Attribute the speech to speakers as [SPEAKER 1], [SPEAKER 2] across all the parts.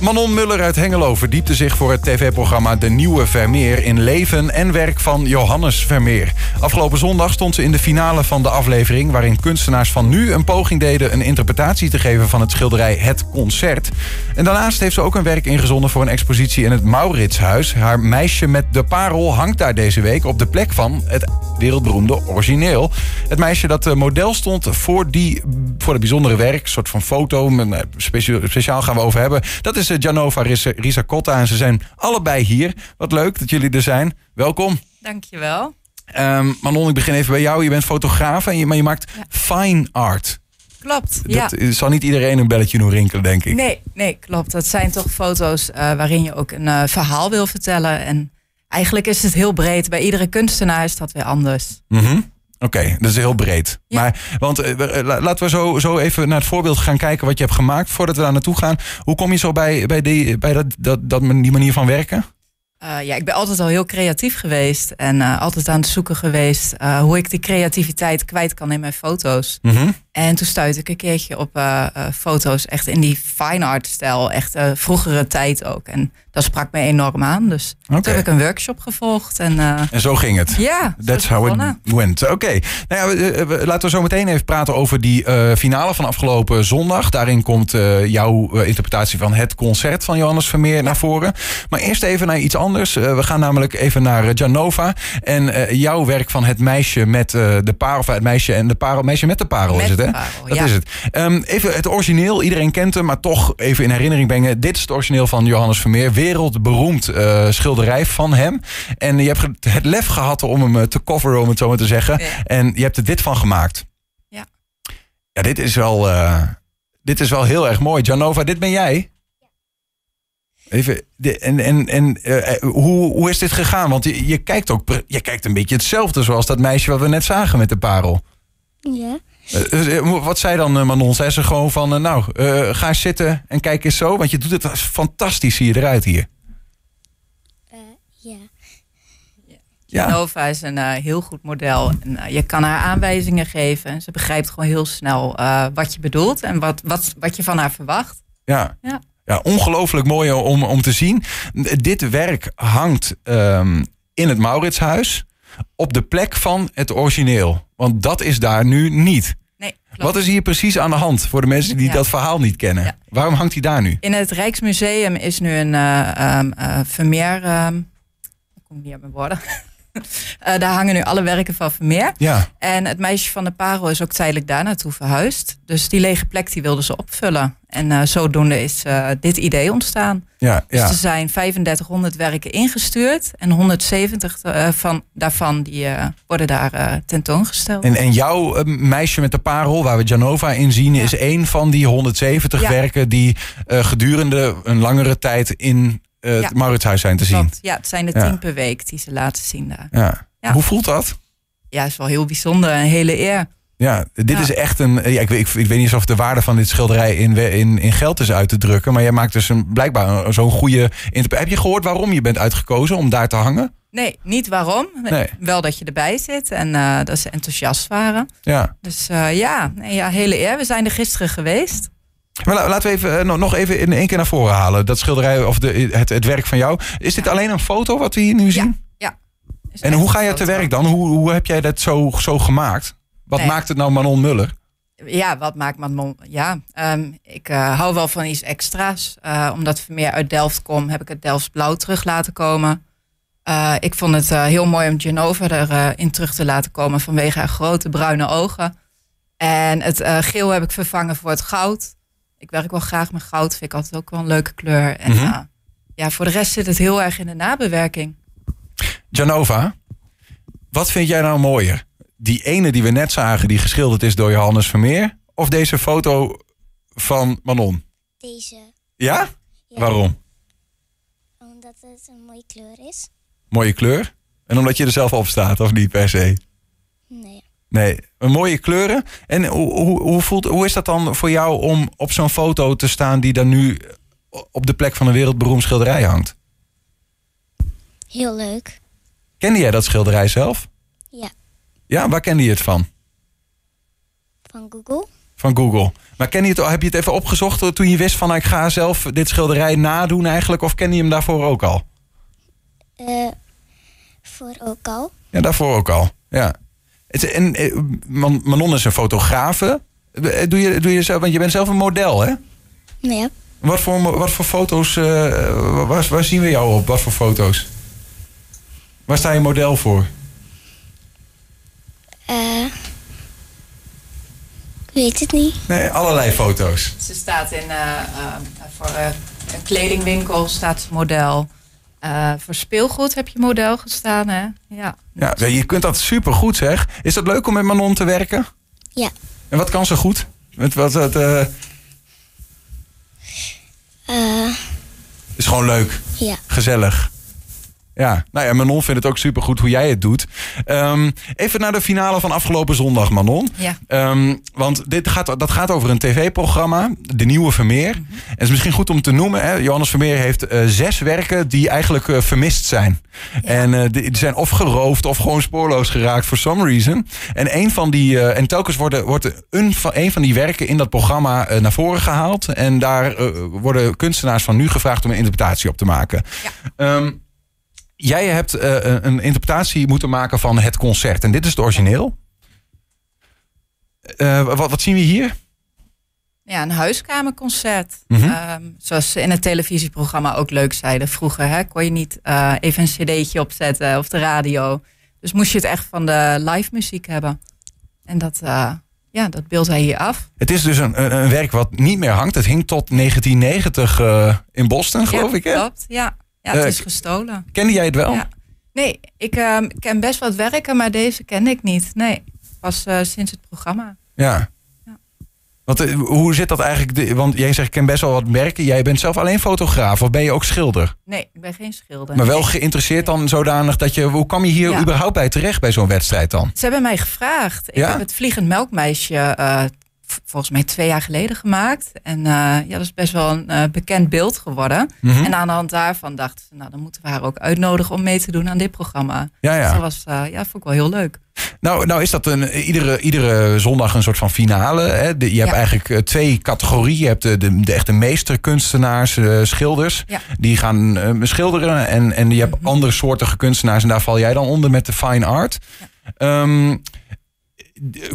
[SPEAKER 1] Manon Muller uit Hengelo verdiepte zich voor het tv-programma De Nieuwe Vermeer in leven en werk van Johannes Vermeer. Afgelopen zondag stond ze in de finale van de aflevering, waarin kunstenaars van nu een poging deden een interpretatie te geven van het schilderij Het Concert. En daarnaast heeft ze ook een werk ingezonden voor een expositie in het Mauritshuis. Haar meisje met de parel hangt daar deze week op de plek van het wereldberoemde origineel. Het meisje dat eh, model stond voor, die, voor het bijzondere werk, een soort van foto, maar, nou, specia- speciaal gaan we over hebben. Dat is eh, Gianova Ris- Risacotta en ze zijn allebei hier. Wat leuk dat jullie er zijn. Welkom.
[SPEAKER 2] Dankjewel.
[SPEAKER 1] Ehm Manon, ik begin even bij jou. Je bent fotograaf, en je, maar je maakt fine art.
[SPEAKER 2] Klopt.
[SPEAKER 1] Dat
[SPEAKER 2] Ja.
[SPEAKER 1] eh, zal niet iedereen een belletje doen rinkelen, denk ik.
[SPEAKER 2] Nee, nee, klopt. Dat zijn toch foto's eh, waarin je ook een eh, verhaal wil vertellen. En eigenlijk is het heel breed. Bij iedere kunstenaar is dat weer anders.
[SPEAKER 1] Mhm. Oké, dat is heel breed.
[SPEAKER 2] Ja.
[SPEAKER 1] Maar, want eh, we- eh, la- laten we zo, zo even naar het voorbeeld gaan kijken wat je hebt gemaakt voordat we daar naartoe gaan. Hoe kom je zo bij, bij, die, bij dat, dat, dat, die manier van werken?
[SPEAKER 2] Eh, ja, ik ben altijd al heel creatief geweest. En eh, altijd aan het zoeken geweest eh, hoe ik die creativiteit kwijt kan in mijn foto's.
[SPEAKER 1] Mhm.
[SPEAKER 2] En toen stuitte ik een keertje op eh, eh, foto's echt in die fine art stijl. Echt eh, vroegere tijd ook. En dat sprak me enorm aan. Dus
[SPEAKER 1] Oké.
[SPEAKER 2] toen heb ik een workshop gevolgd. En eh,
[SPEAKER 1] En zo ging het.
[SPEAKER 2] ja,
[SPEAKER 1] That's
[SPEAKER 2] zo
[SPEAKER 1] how
[SPEAKER 2] begonnen.
[SPEAKER 1] it went. Oké. Nou ja, we- eh, we- laten we zo meteen even praten over die eh, finale van afgelopen zondag. Daarin komt eh, jouw eh, interpretatie van het concert van Johannes Vermeer naar voren. Maar eerst even naar iets anders. Eh, we gaan namelijk even naar eh, Janova. En eh, jouw werk van het meisje met eh, de parel. Of het meisje en de parel. Meisje met de parel
[SPEAKER 2] Met
[SPEAKER 1] is het, hè?
[SPEAKER 2] de parel,
[SPEAKER 1] Dat
[SPEAKER 2] Oh, ja.
[SPEAKER 1] is het. Ehm, even het origineel. Iedereen kent hem, maar toch even in herinnering brengen. Dit is het origineel van Johannes Vermeer. Wereldberoemd eh, schilderij van hem. En je hebt ge- het lef gehad om hem eh, te coveren, om het zo maar te zeggen.
[SPEAKER 2] Ja.
[SPEAKER 1] En je hebt er dit van gemaakt.
[SPEAKER 2] Ja.
[SPEAKER 1] Ja, dit is wel, eh, dit is wel heel erg mooi. Janova, dit ben jij? Even, de- en en, en eh, eh, hoe, hoe is dit gegaan? Want je, je kijkt ook pre- je kijkt een beetje hetzelfde zoals dat meisje wat we net zagen met de parel.
[SPEAKER 3] Ja.
[SPEAKER 1] Eh, eh, wat zei dan eh, Manon? Zei ze gewoon van, eh, nou, eh, ga eens zitten en kijk eens zo. Want je doet het fantastisch, zie je eruit hier.
[SPEAKER 3] Eh, ja.
[SPEAKER 1] Ja,
[SPEAKER 2] Nova is een eh, heel goed model. En, eh, je kan haar aanwijzingen geven. En ze begrijpt gewoon heel snel eh, wat je bedoelt en wat, wat, wat je van haar verwacht.
[SPEAKER 1] ja.
[SPEAKER 2] Ja.
[SPEAKER 1] ja ongelooflijk mooi om, om te zien. Eh, Dit werk hangt ehm, in het Mauritshuis op de plek van het origineel. Want dat is daar nu niet.
[SPEAKER 2] Nee, klopt.
[SPEAKER 1] Wat is hier precies aan de hand voor de mensen die
[SPEAKER 2] Ja.
[SPEAKER 1] dat verhaal niet kennen?
[SPEAKER 2] Ja.
[SPEAKER 1] Waarom hangt hij daar nu?
[SPEAKER 2] In het Rijksmuseum is nu een eh, ehm, eh, Vermeer. ehm, ik kom niet uit mijn woorden. Eh, daar hangen nu alle werken van Vermeer.
[SPEAKER 1] Ja,
[SPEAKER 2] En het meisje van de parel is ook tijdelijk daar naartoe verhuisd. Dus die lege plek die wilden ze opvullen. En eh, zodoende is eh, dit idee ontstaan.
[SPEAKER 1] ja,
[SPEAKER 2] Dus
[SPEAKER 1] ja.
[SPEAKER 2] er zijn 3500 werken ingestuurd en 170 eh, van, daarvan die, eh, worden daar eh, tentoongesteld.
[SPEAKER 1] En, en jouw eh, meisje met de parel, waar we Janova in zien, is één van die 170
[SPEAKER 2] Ja.
[SPEAKER 1] werken die eh, gedurende een langere tijd in eh, het
[SPEAKER 2] Ja.
[SPEAKER 1] Mauritshuis zijn te zien.
[SPEAKER 2] Klopt. Ja, het zijn er
[SPEAKER 1] Ja.
[SPEAKER 2] tien per week die ze laten zien daar.
[SPEAKER 1] Ja.
[SPEAKER 2] Ja.
[SPEAKER 1] Hoe voelt dat?
[SPEAKER 2] Ja, is wel heel bijzonder, een hele eer.
[SPEAKER 1] Ja, dit
[SPEAKER 2] Ja.
[SPEAKER 1] is echt een. eh, Ja, ik, weet- ik, ik weet niet eens of de waarde van dit schilderij in, we- in, in geld is uit te drukken. Maar jij maakt dus een, blijkbaar een- zo'n goede. interp- Heb je gehoord waarom je bent uitgekozen om daar te hangen?
[SPEAKER 2] Nee, niet waarom.
[SPEAKER 1] Nee.
[SPEAKER 2] Wel dat je erbij zit en eh, dat ze enthousiast waren.
[SPEAKER 1] Ja.
[SPEAKER 2] Dus eh, ja, nee, ja, hele eer. We zijn er gisteren geweest.
[SPEAKER 1] Maar la- laten we even, eh, nog- nog even in één keer naar voren halen. Dat schilderij of de, het, het werk van jou. Is dit alleen een foto wat we hier nu zien?
[SPEAKER 2] Is
[SPEAKER 1] En
[SPEAKER 2] echt
[SPEAKER 1] hoe ga je
[SPEAKER 2] groot
[SPEAKER 1] te
[SPEAKER 2] wel.
[SPEAKER 1] werk dan? Hoe, hoe heb jij dat zo, zo gemaakt? Wat
[SPEAKER 2] Nee.
[SPEAKER 1] maakt het nou Manon Muller?
[SPEAKER 2] Ja, wat maakt Manon? Ja, ehm, ik eh, hou wel van iets extra's. Eh, omdat we meer uit Delft kom, heb ik het Delfts blauw terug laten komen. Eh, ik vond het eh, heel mooi om Genova erin eh, in terug te laten komen vanwege haar grote bruine ogen. En het eh, geel heb ik vervangen voor het goud. Ik werk wel graag met goud, vind ik altijd ook wel een leuke kleur. En
[SPEAKER 1] Mhm.
[SPEAKER 2] eh, ja, voor de rest zit het heel erg in de nabewerking.
[SPEAKER 1] Janova, wat vind jij nou mooier? Die ene die we net zagen, die geschilderd is door Johannes Vermeer? Of deze foto van Manon?
[SPEAKER 3] Deze.
[SPEAKER 1] Ja?
[SPEAKER 3] Ja,
[SPEAKER 1] Waarom?
[SPEAKER 3] Omdat het een mooie kleur is.
[SPEAKER 1] Mooie kleur? En omdat je er zelf op staat, of niet per se?
[SPEAKER 3] Nee.
[SPEAKER 1] Nee, een mooie kleuren. En hoe, hoe, hoe, voelt, hoe is dat dan voor jou om op zo'n foto te staan die dan nu op de plek van een wereldberoemd schilderij hangt?
[SPEAKER 3] Heel leuk.
[SPEAKER 1] Kende jij dat schilderij zelf?
[SPEAKER 3] Ja.
[SPEAKER 1] Ja, waar kende je het van?
[SPEAKER 3] Van Google.
[SPEAKER 1] van Google. Maar ken je het, heb je het even opgezocht eh, toen je wist van nou, ik ga zelf dit schilderij nadoen eigenlijk? Of ken je hem daarvoor ook al?
[SPEAKER 3] Eh, voor ook al.
[SPEAKER 1] Ja, daarvoor ook al. Ja. Het, en eh, Man- Manon is een fotografe. Eh, Doe je, doe je zelf, want je bent zelf een model, hè?
[SPEAKER 3] Ja.
[SPEAKER 1] Wat voor, mo- wat voor foto's, eh, waar, waar zien we jou op? Wat voor foto's? Waar sta je model voor?
[SPEAKER 3] Eh, ik weet het niet.
[SPEAKER 1] Nee, allerlei foto's.
[SPEAKER 2] Ze staat in, eh, eh, voor eh, een kledingwinkel staat ze model. Eh, voor speelgoed heb je model gestaan, hè? Ja.
[SPEAKER 1] Ja, je kunt dat supergoed, zeg. Is dat leuk om met Manon te werken?
[SPEAKER 3] Ja.
[SPEAKER 1] En wat kan ze goed? Met wat, wat, eh,
[SPEAKER 3] Eh,
[SPEAKER 1] is gewoon leuk,
[SPEAKER 3] ja.
[SPEAKER 1] gezellig. Ja, nou ja, Manon vindt het ook supergoed hoe jij het doet. Ehm, even naar de finale van afgelopen zondag, Manon.
[SPEAKER 2] Ja.
[SPEAKER 1] Ehm, want dit gaat, dat gaat over een tv-programma, De Nieuwe Vermeer. En het is misschien goed om te noemen, hè, Johannes Vermeer heeft eh, zes werken die eigenlijk eh, vermist zijn. En eh, die, die zijn of geroofd of gewoon spoorloos geraakt for some reason. En, een van die, eh, en telkens worden, wordt een van, een van die werken in dat programma eh, naar voren gehaald. En daar eh, worden kunstenaars van nu gevraagd om een interpretatie op te maken. Ehm, jij hebt eh, een- een interpretatie moeten maken van het concert. En dit is het origineel. Eh, wat, wat zien we hier?
[SPEAKER 2] Ja, een huiskamerconcert.
[SPEAKER 1] Mhm.
[SPEAKER 2] Ehm, zoals ze in het televisieprogramma ook leuk zeiden. Vroeger hè, kon je niet eh, even een cd'tje opzetten of de radio. Dus moest je het echt van de live muziek hebben. En dat, eh, ja, dat beeldt hij hier af.
[SPEAKER 1] Het is dus een, een, een werk wat niet meer hangt. Het hing tot 1990 eh, in Boston, geloof
[SPEAKER 2] ja,
[SPEAKER 1] ik. Hè?
[SPEAKER 2] Klopt, ja. ja het
[SPEAKER 1] Eh,
[SPEAKER 2] is gestolen.
[SPEAKER 1] Kende jij het wel?
[SPEAKER 2] Ja. Nee, ik ehm, ken best wat werken, maar deze kende ik niet. Nee, pas eh, sinds het programma.
[SPEAKER 1] Ja.
[SPEAKER 2] Ja.
[SPEAKER 1] Want, eh, hoe zit dat eigenlijk? De- Want jij zegt, ik ken best wel wat merken. Jij bent zelf alleen fotograaf of ben je ook schilder?
[SPEAKER 2] Nee, ik ben geen schilder.
[SPEAKER 1] Maar wel geïnteresseerd dan zodanig dat je... Hoe kwam je hier
[SPEAKER 2] Ja.
[SPEAKER 1] überhaupt bij terecht bij zo'n wedstrijd dan?
[SPEAKER 2] Ze hebben mij gevraagd. Ik
[SPEAKER 1] Ja?
[SPEAKER 2] heb het Vliegend Melkmeisje eh, v- volgens mij twee jaar geleden gemaakt. En eh, ja, dat is best wel een eh, bekend beeld geworden.
[SPEAKER 1] Mhm.
[SPEAKER 2] En aan de hand daarvan dachten ze, nou dan moeten we haar ook uitnodigen om mee te doen aan dit programma.
[SPEAKER 1] Ja,
[SPEAKER 2] Dus
[SPEAKER 1] ja.
[SPEAKER 2] dat was, eh, ja, dat vond ik wel heel leuk.
[SPEAKER 1] Nou, nou is dat een, iedere, iedere zondag een soort van finale. Hè? De- je hebt
[SPEAKER 2] Ja.
[SPEAKER 1] eigenlijk eh, twee categorieën. Je hebt de, de, de echte meesterkunstenaars, eh, schilders.
[SPEAKER 2] Ja.
[SPEAKER 1] Die gaan eh, schilderen. En, en je hebt andere soorten kunstenaars. En daar val jij dan onder met de fine art. Ja.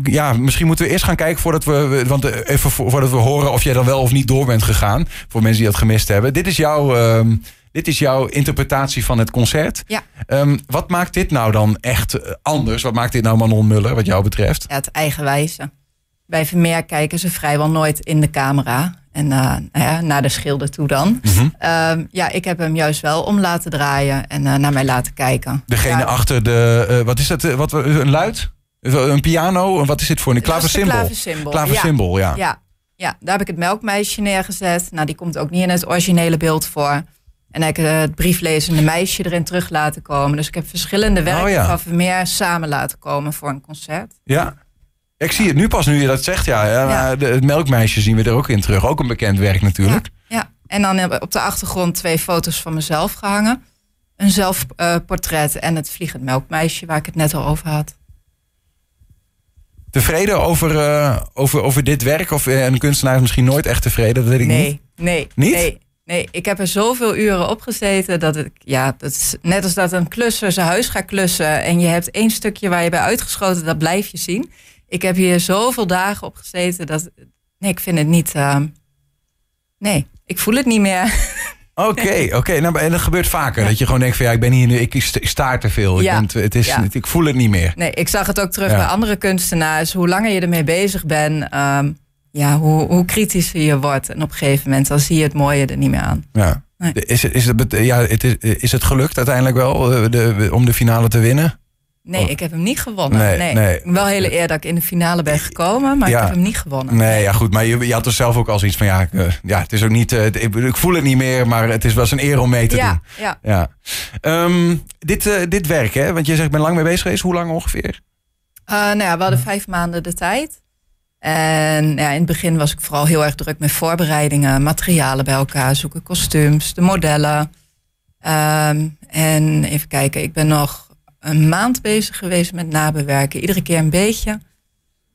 [SPEAKER 1] ja, misschien moeten we eerst gaan kijken voordat we, we- want eh, even vo- voordat we horen of jij dan wel of niet door bent gegaan. Voor mensen die dat gemist hebben. Dit is jouw, ehm, dit is jouw interpretatie van het concert.
[SPEAKER 2] Ja.
[SPEAKER 1] Ehm, wat maakt dit nou dan echt eh, anders? Wat maakt dit nou Manon Muller, wat jou betreft?
[SPEAKER 2] Ja, het eigenwijze. Bij Vermeer kijken ze vrijwel nooit in de camera. En eh, nou ja, naar de schilder toe dan.
[SPEAKER 1] Mhm.
[SPEAKER 2] Ehm, ja, ik heb hem juist wel om laten draaien en eh, naar mij laten kijken.
[SPEAKER 1] Degene
[SPEAKER 2] Ja,
[SPEAKER 1] achter de, eh, wat is dat? eh, wat, we- een luid? Een piano? Wat is dit voor een
[SPEAKER 2] dat was de
[SPEAKER 1] klaversymbol?
[SPEAKER 2] klaversymbol, ja.
[SPEAKER 1] Klaversymbol, ja.
[SPEAKER 2] Ja, ja, daar heb ik het melkmeisje neergezet. Nou, die komt ook niet in het originele beeld voor. En heb ik eh, het brieflezende meisje erin terug laten komen. Dus ik heb verschillende werken
[SPEAKER 1] Oh, ja.
[SPEAKER 2] van Vermeer samen laten komen voor een concert.
[SPEAKER 1] Ja. Ik zie het nu pas nu je dat zegt, ja. ja, maar de- het melkmeisje zien we er ook in terug. Ook een bekend werk natuurlijk.
[SPEAKER 2] Ja, ja. en dan heb ik op de achtergrond twee foto's van mezelf gehangen. Een zelfportret en het vliegend melkmeisje waar ik het net al over had.
[SPEAKER 1] Tevreden over, eh, over, over dit werk? Of eh, een kunstenaar is misschien nooit echt tevreden, dat weet ik niet.
[SPEAKER 2] Nee, nee,
[SPEAKER 1] Niet?
[SPEAKER 2] nee. Nee, ik heb er zoveel uren op gezeten dat ik, ja, dat is net als dat een klusser zijn huis gaat klussen en je hebt één stukje waar je bij uitgeschoten, dat blijf je zien. Ik heb hier zoveel dagen op gezeten dat, nee, ik vind het niet, ehm, nee, ik voel het niet meer.
[SPEAKER 1] Oké, oké. Nou, en dat gebeurt vaker. Dat je gewoon denkt van ja, ik ben hier nu, ik sta- ik sta te veel. Ik,
[SPEAKER 2] Ja.
[SPEAKER 1] ben te- het is,
[SPEAKER 2] Ja.
[SPEAKER 1] niet- ik voel het niet meer.
[SPEAKER 2] Nee, ik zag het ook terug
[SPEAKER 1] Ja.
[SPEAKER 2] bij andere kunstenaars. Hoe langer je ermee bezig bent, ehm, ja, hoe, hoe kritischer je wordt. En op een gegeven moment, dan zie je het mooie er niet meer aan.
[SPEAKER 1] Ja.
[SPEAKER 2] Nee.
[SPEAKER 1] Is, het- is, het, bet- ja, het is, is het gelukt uiteindelijk wel eh, de, om de finale te winnen?
[SPEAKER 2] Nee,
[SPEAKER 1] Oh.
[SPEAKER 2] ik heb hem niet gewonnen.
[SPEAKER 1] Nee,
[SPEAKER 2] Nee,
[SPEAKER 1] nee.
[SPEAKER 2] Wel hele eer dat ik in de finale ben gekomen, maar
[SPEAKER 1] Ja.
[SPEAKER 2] ik heb hem niet gewonnen.
[SPEAKER 1] Nee, ja, goed. Maar je, je had er zelf ook al zoiets van: ja, ik, eh, ja het is ook niet. eh, ik, ik voel het niet meer, maar het is wel eens een eer om mee te doen.
[SPEAKER 2] ja, ja,
[SPEAKER 1] Ja. Ehm, dit, eh, dit werk, hè? Want je zegt, ik ben lang mee bezig geweest. Hoe lang ongeveer?
[SPEAKER 2] Eh, nou ja, we hadden vijf maanden de tijd. En ja, in het begin was ik vooral heel erg druk met voorbereidingen, materialen bij elkaar zoeken, kostuums, de modellen. Ehm, en even kijken, ik ben nog een maand bezig geweest met nabewerken, iedere keer een beetje.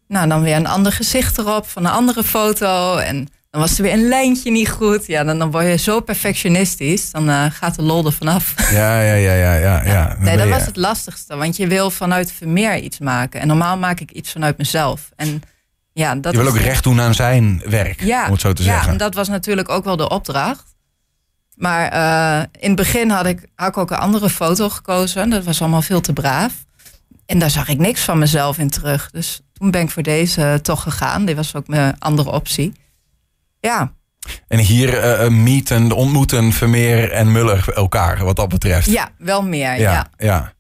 [SPEAKER 2] Nou, dan weer een ander gezicht erop van een andere foto. En dan was er weer een lijntje niet goed. Ja, dan, dan word je zo perfectionistisch. Dan eh, gaat de lol er vanaf.
[SPEAKER 1] Ja, ja, ja, ja, ja. ja.
[SPEAKER 2] Nee, dat
[SPEAKER 1] Ben je-
[SPEAKER 2] was het lastigste. Want je wil vanuit Vermeer iets maken. En normaal maak ik iets vanuit mezelf. En ja, dat
[SPEAKER 1] je wil
[SPEAKER 2] is-
[SPEAKER 1] ook recht doen aan zijn werk,
[SPEAKER 2] ja,
[SPEAKER 1] om het zo te
[SPEAKER 2] ja,
[SPEAKER 1] zeggen.
[SPEAKER 2] en dat was natuurlijk ook wel de opdracht. Maar eh, in het begin had ik, had ik ook een andere foto gekozen. Dat was allemaal veel te braaf. En daar zag ik niks van mezelf in terug. Dus toen ben ik voor deze toch gegaan. Dit was ook mijn andere optie. Ja,
[SPEAKER 1] En hier eh, eh, meeten, ontmoeten Vermeer en Muller elkaar, wat dat betreft.
[SPEAKER 2] ja wel meer. ja.
[SPEAKER 1] ja. ja.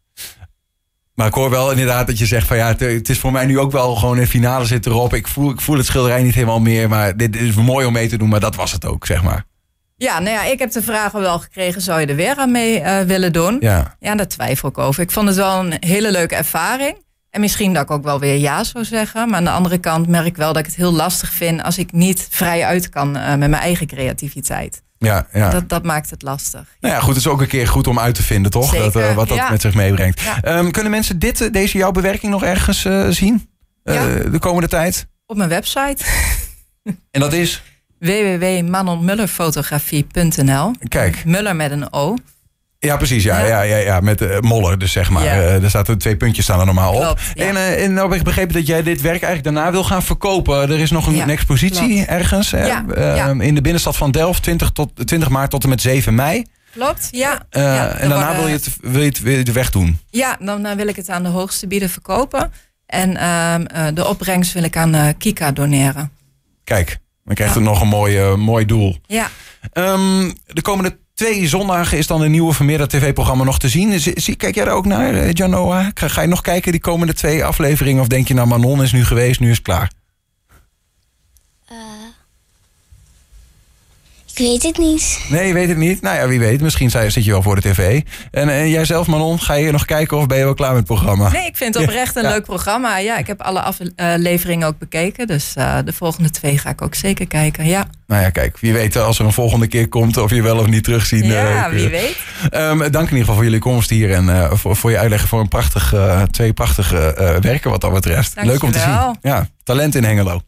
[SPEAKER 1] Maar ik hoor wel inderdaad dat je zegt van ja, het, het is voor mij nu ook wel gewoon een finale zit erop. Ik voel, ik voel het schilderij niet helemaal meer, maar dit is mooi om mee te doen, maar dat was het ook, zeg maar.
[SPEAKER 2] Ja, nou ja, ik heb de vraag wel gekregen, zou je er weer aan mee eh, willen doen? Ja.
[SPEAKER 1] Ja.
[SPEAKER 2] daar twijfel ik over. Ik vond het wel een hele leuke ervaring. En misschien dat ik ook wel weer ja zou zeggen. Maar aan de andere kant merk ik wel dat ik het heel lastig vind als ik niet vrij uit kan eh, met mijn eigen creativiteit.
[SPEAKER 1] Ja, ja.
[SPEAKER 2] Dat, dat maakt het lastig.
[SPEAKER 1] Nou ja, goed, het is ook een keer goed om uit te vinden, toch?
[SPEAKER 2] Zeker,
[SPEAKER 1] dat, eh, wat dat
[SPEAKER 2] ja.
[SPEAKER 1] met zich meebrengt.
[SPEAKER 2] Ja.
[SPEAKER 1] Ehm, kunnen mensen dit, eh, deze jouw bewerking nog ergens eh, zien Eh,
[SPEAKER 2] Ja.
[SPEAKER 1] de komende tijd?
[SPEAKER 2] Op mijn website
[SPEAKER 1] En dat is,
[SPEAKER 2] www.manonmullerfotografie.nl
[SPEAKER 1] kijk,
[SPEAKER 2] Muller met een O.
[SPEAKER 1] ja precies, ja,
[SPEAKER 2] Ja.
[SPEAKER 1] ja, ja, ja met eh, moller dus zeg maar.
[SPEAKER 2] Ja.
[SPEAKER 1] Eh, er zaten twee puntjes staan er normaal op.
[SPEAKER 2] Klopt, ja.
[SPEAKER 1] En, eh, en nou heb ik begrepen dat jij dit werk eigenlijk daarna wil gaan verkopen. Er is nog een,
[SPEAKER 2] Ja,
[SPEAKER 1] een expositie ergens hè?
[SPEAKER 2] Ja,
[SPEAKER 1] Eh,
[SPEAKER 2] ja.
[SPEAKER 1] in de binnenstad van Delft, 20, tot, 20 maart tot en met 7 mei.
[SPEAKER 2] Klopt, ja.
[SPEAKER 1] Eh,
[SPEAKER 2] Ja, er
[SPEAKER 1] en daarna
[SPEAKER 2] worden-
[SPEAKER 1] wil je, het, wil, je het, wil je het wegdoen.
[SPEAKER 2] Ja, dan eh, wil ik het aan de hoogste bieden verkopen. En ehm, eh, de opbrengst wil ik aan eh, Kika doneren.
[SPEAKER 1] Kijk, dan krijgt het nog een mooi, eh, mooi doel.
[SPEAKER 2] Ja.
[SPEAKER 1] Ehm, de komende twee zondagen is dan een nieuwe Vermeerder TV-programma nog te zien. Zie, zie- kijk jij daar ook naar, eh, Janoa? Ga, ga je nog kijken die komende twee afleveringen? Of denk je, nou, Manon is nu geweest, nu is het klaar?
[SPEAKER 3] Eh, ik weet het niet.
[SPEAKER 1] Nee, je weet het niet. Nou ja, wie weet. Misschien zij- zit je wel voor de tv. En, en jijzelf, Manon, ga je nog kijken of ben je wel klaar met het programma?
[SPEAKER 2] Nee, ik vind het oprecht een
[SPEAKER 1] Ah, Ja.
[SPEAKER 2] leuk programma. Ja, ik heb alle afleveringen ook bekeken. Dus eh, de volgende twee ga ik ook zeker kijken. Ja,
[SPEAKER 1] Nou ja, kijk, wie weet eh, als er een volgende keer komt of je wel of niet terugzien. eh,
[SPEAKER 2] ja
[SPEAKER 1] ik,
[SPEAKER 2] wie
[SPEAKER 1] eh,
[SPEAKER 2] weet.
[SPEAKER 1] Ehm, dank in ieder geval voor jullie komst hier en eh, voor, voor je uitleg voor een prachtig, eh, twee prachtige eh, werken wat dat betreft. Leuk om te
[SPEAKER 2] Dankjewel.
[SPEAKER 1] zien. Ja, talent in Hengelo.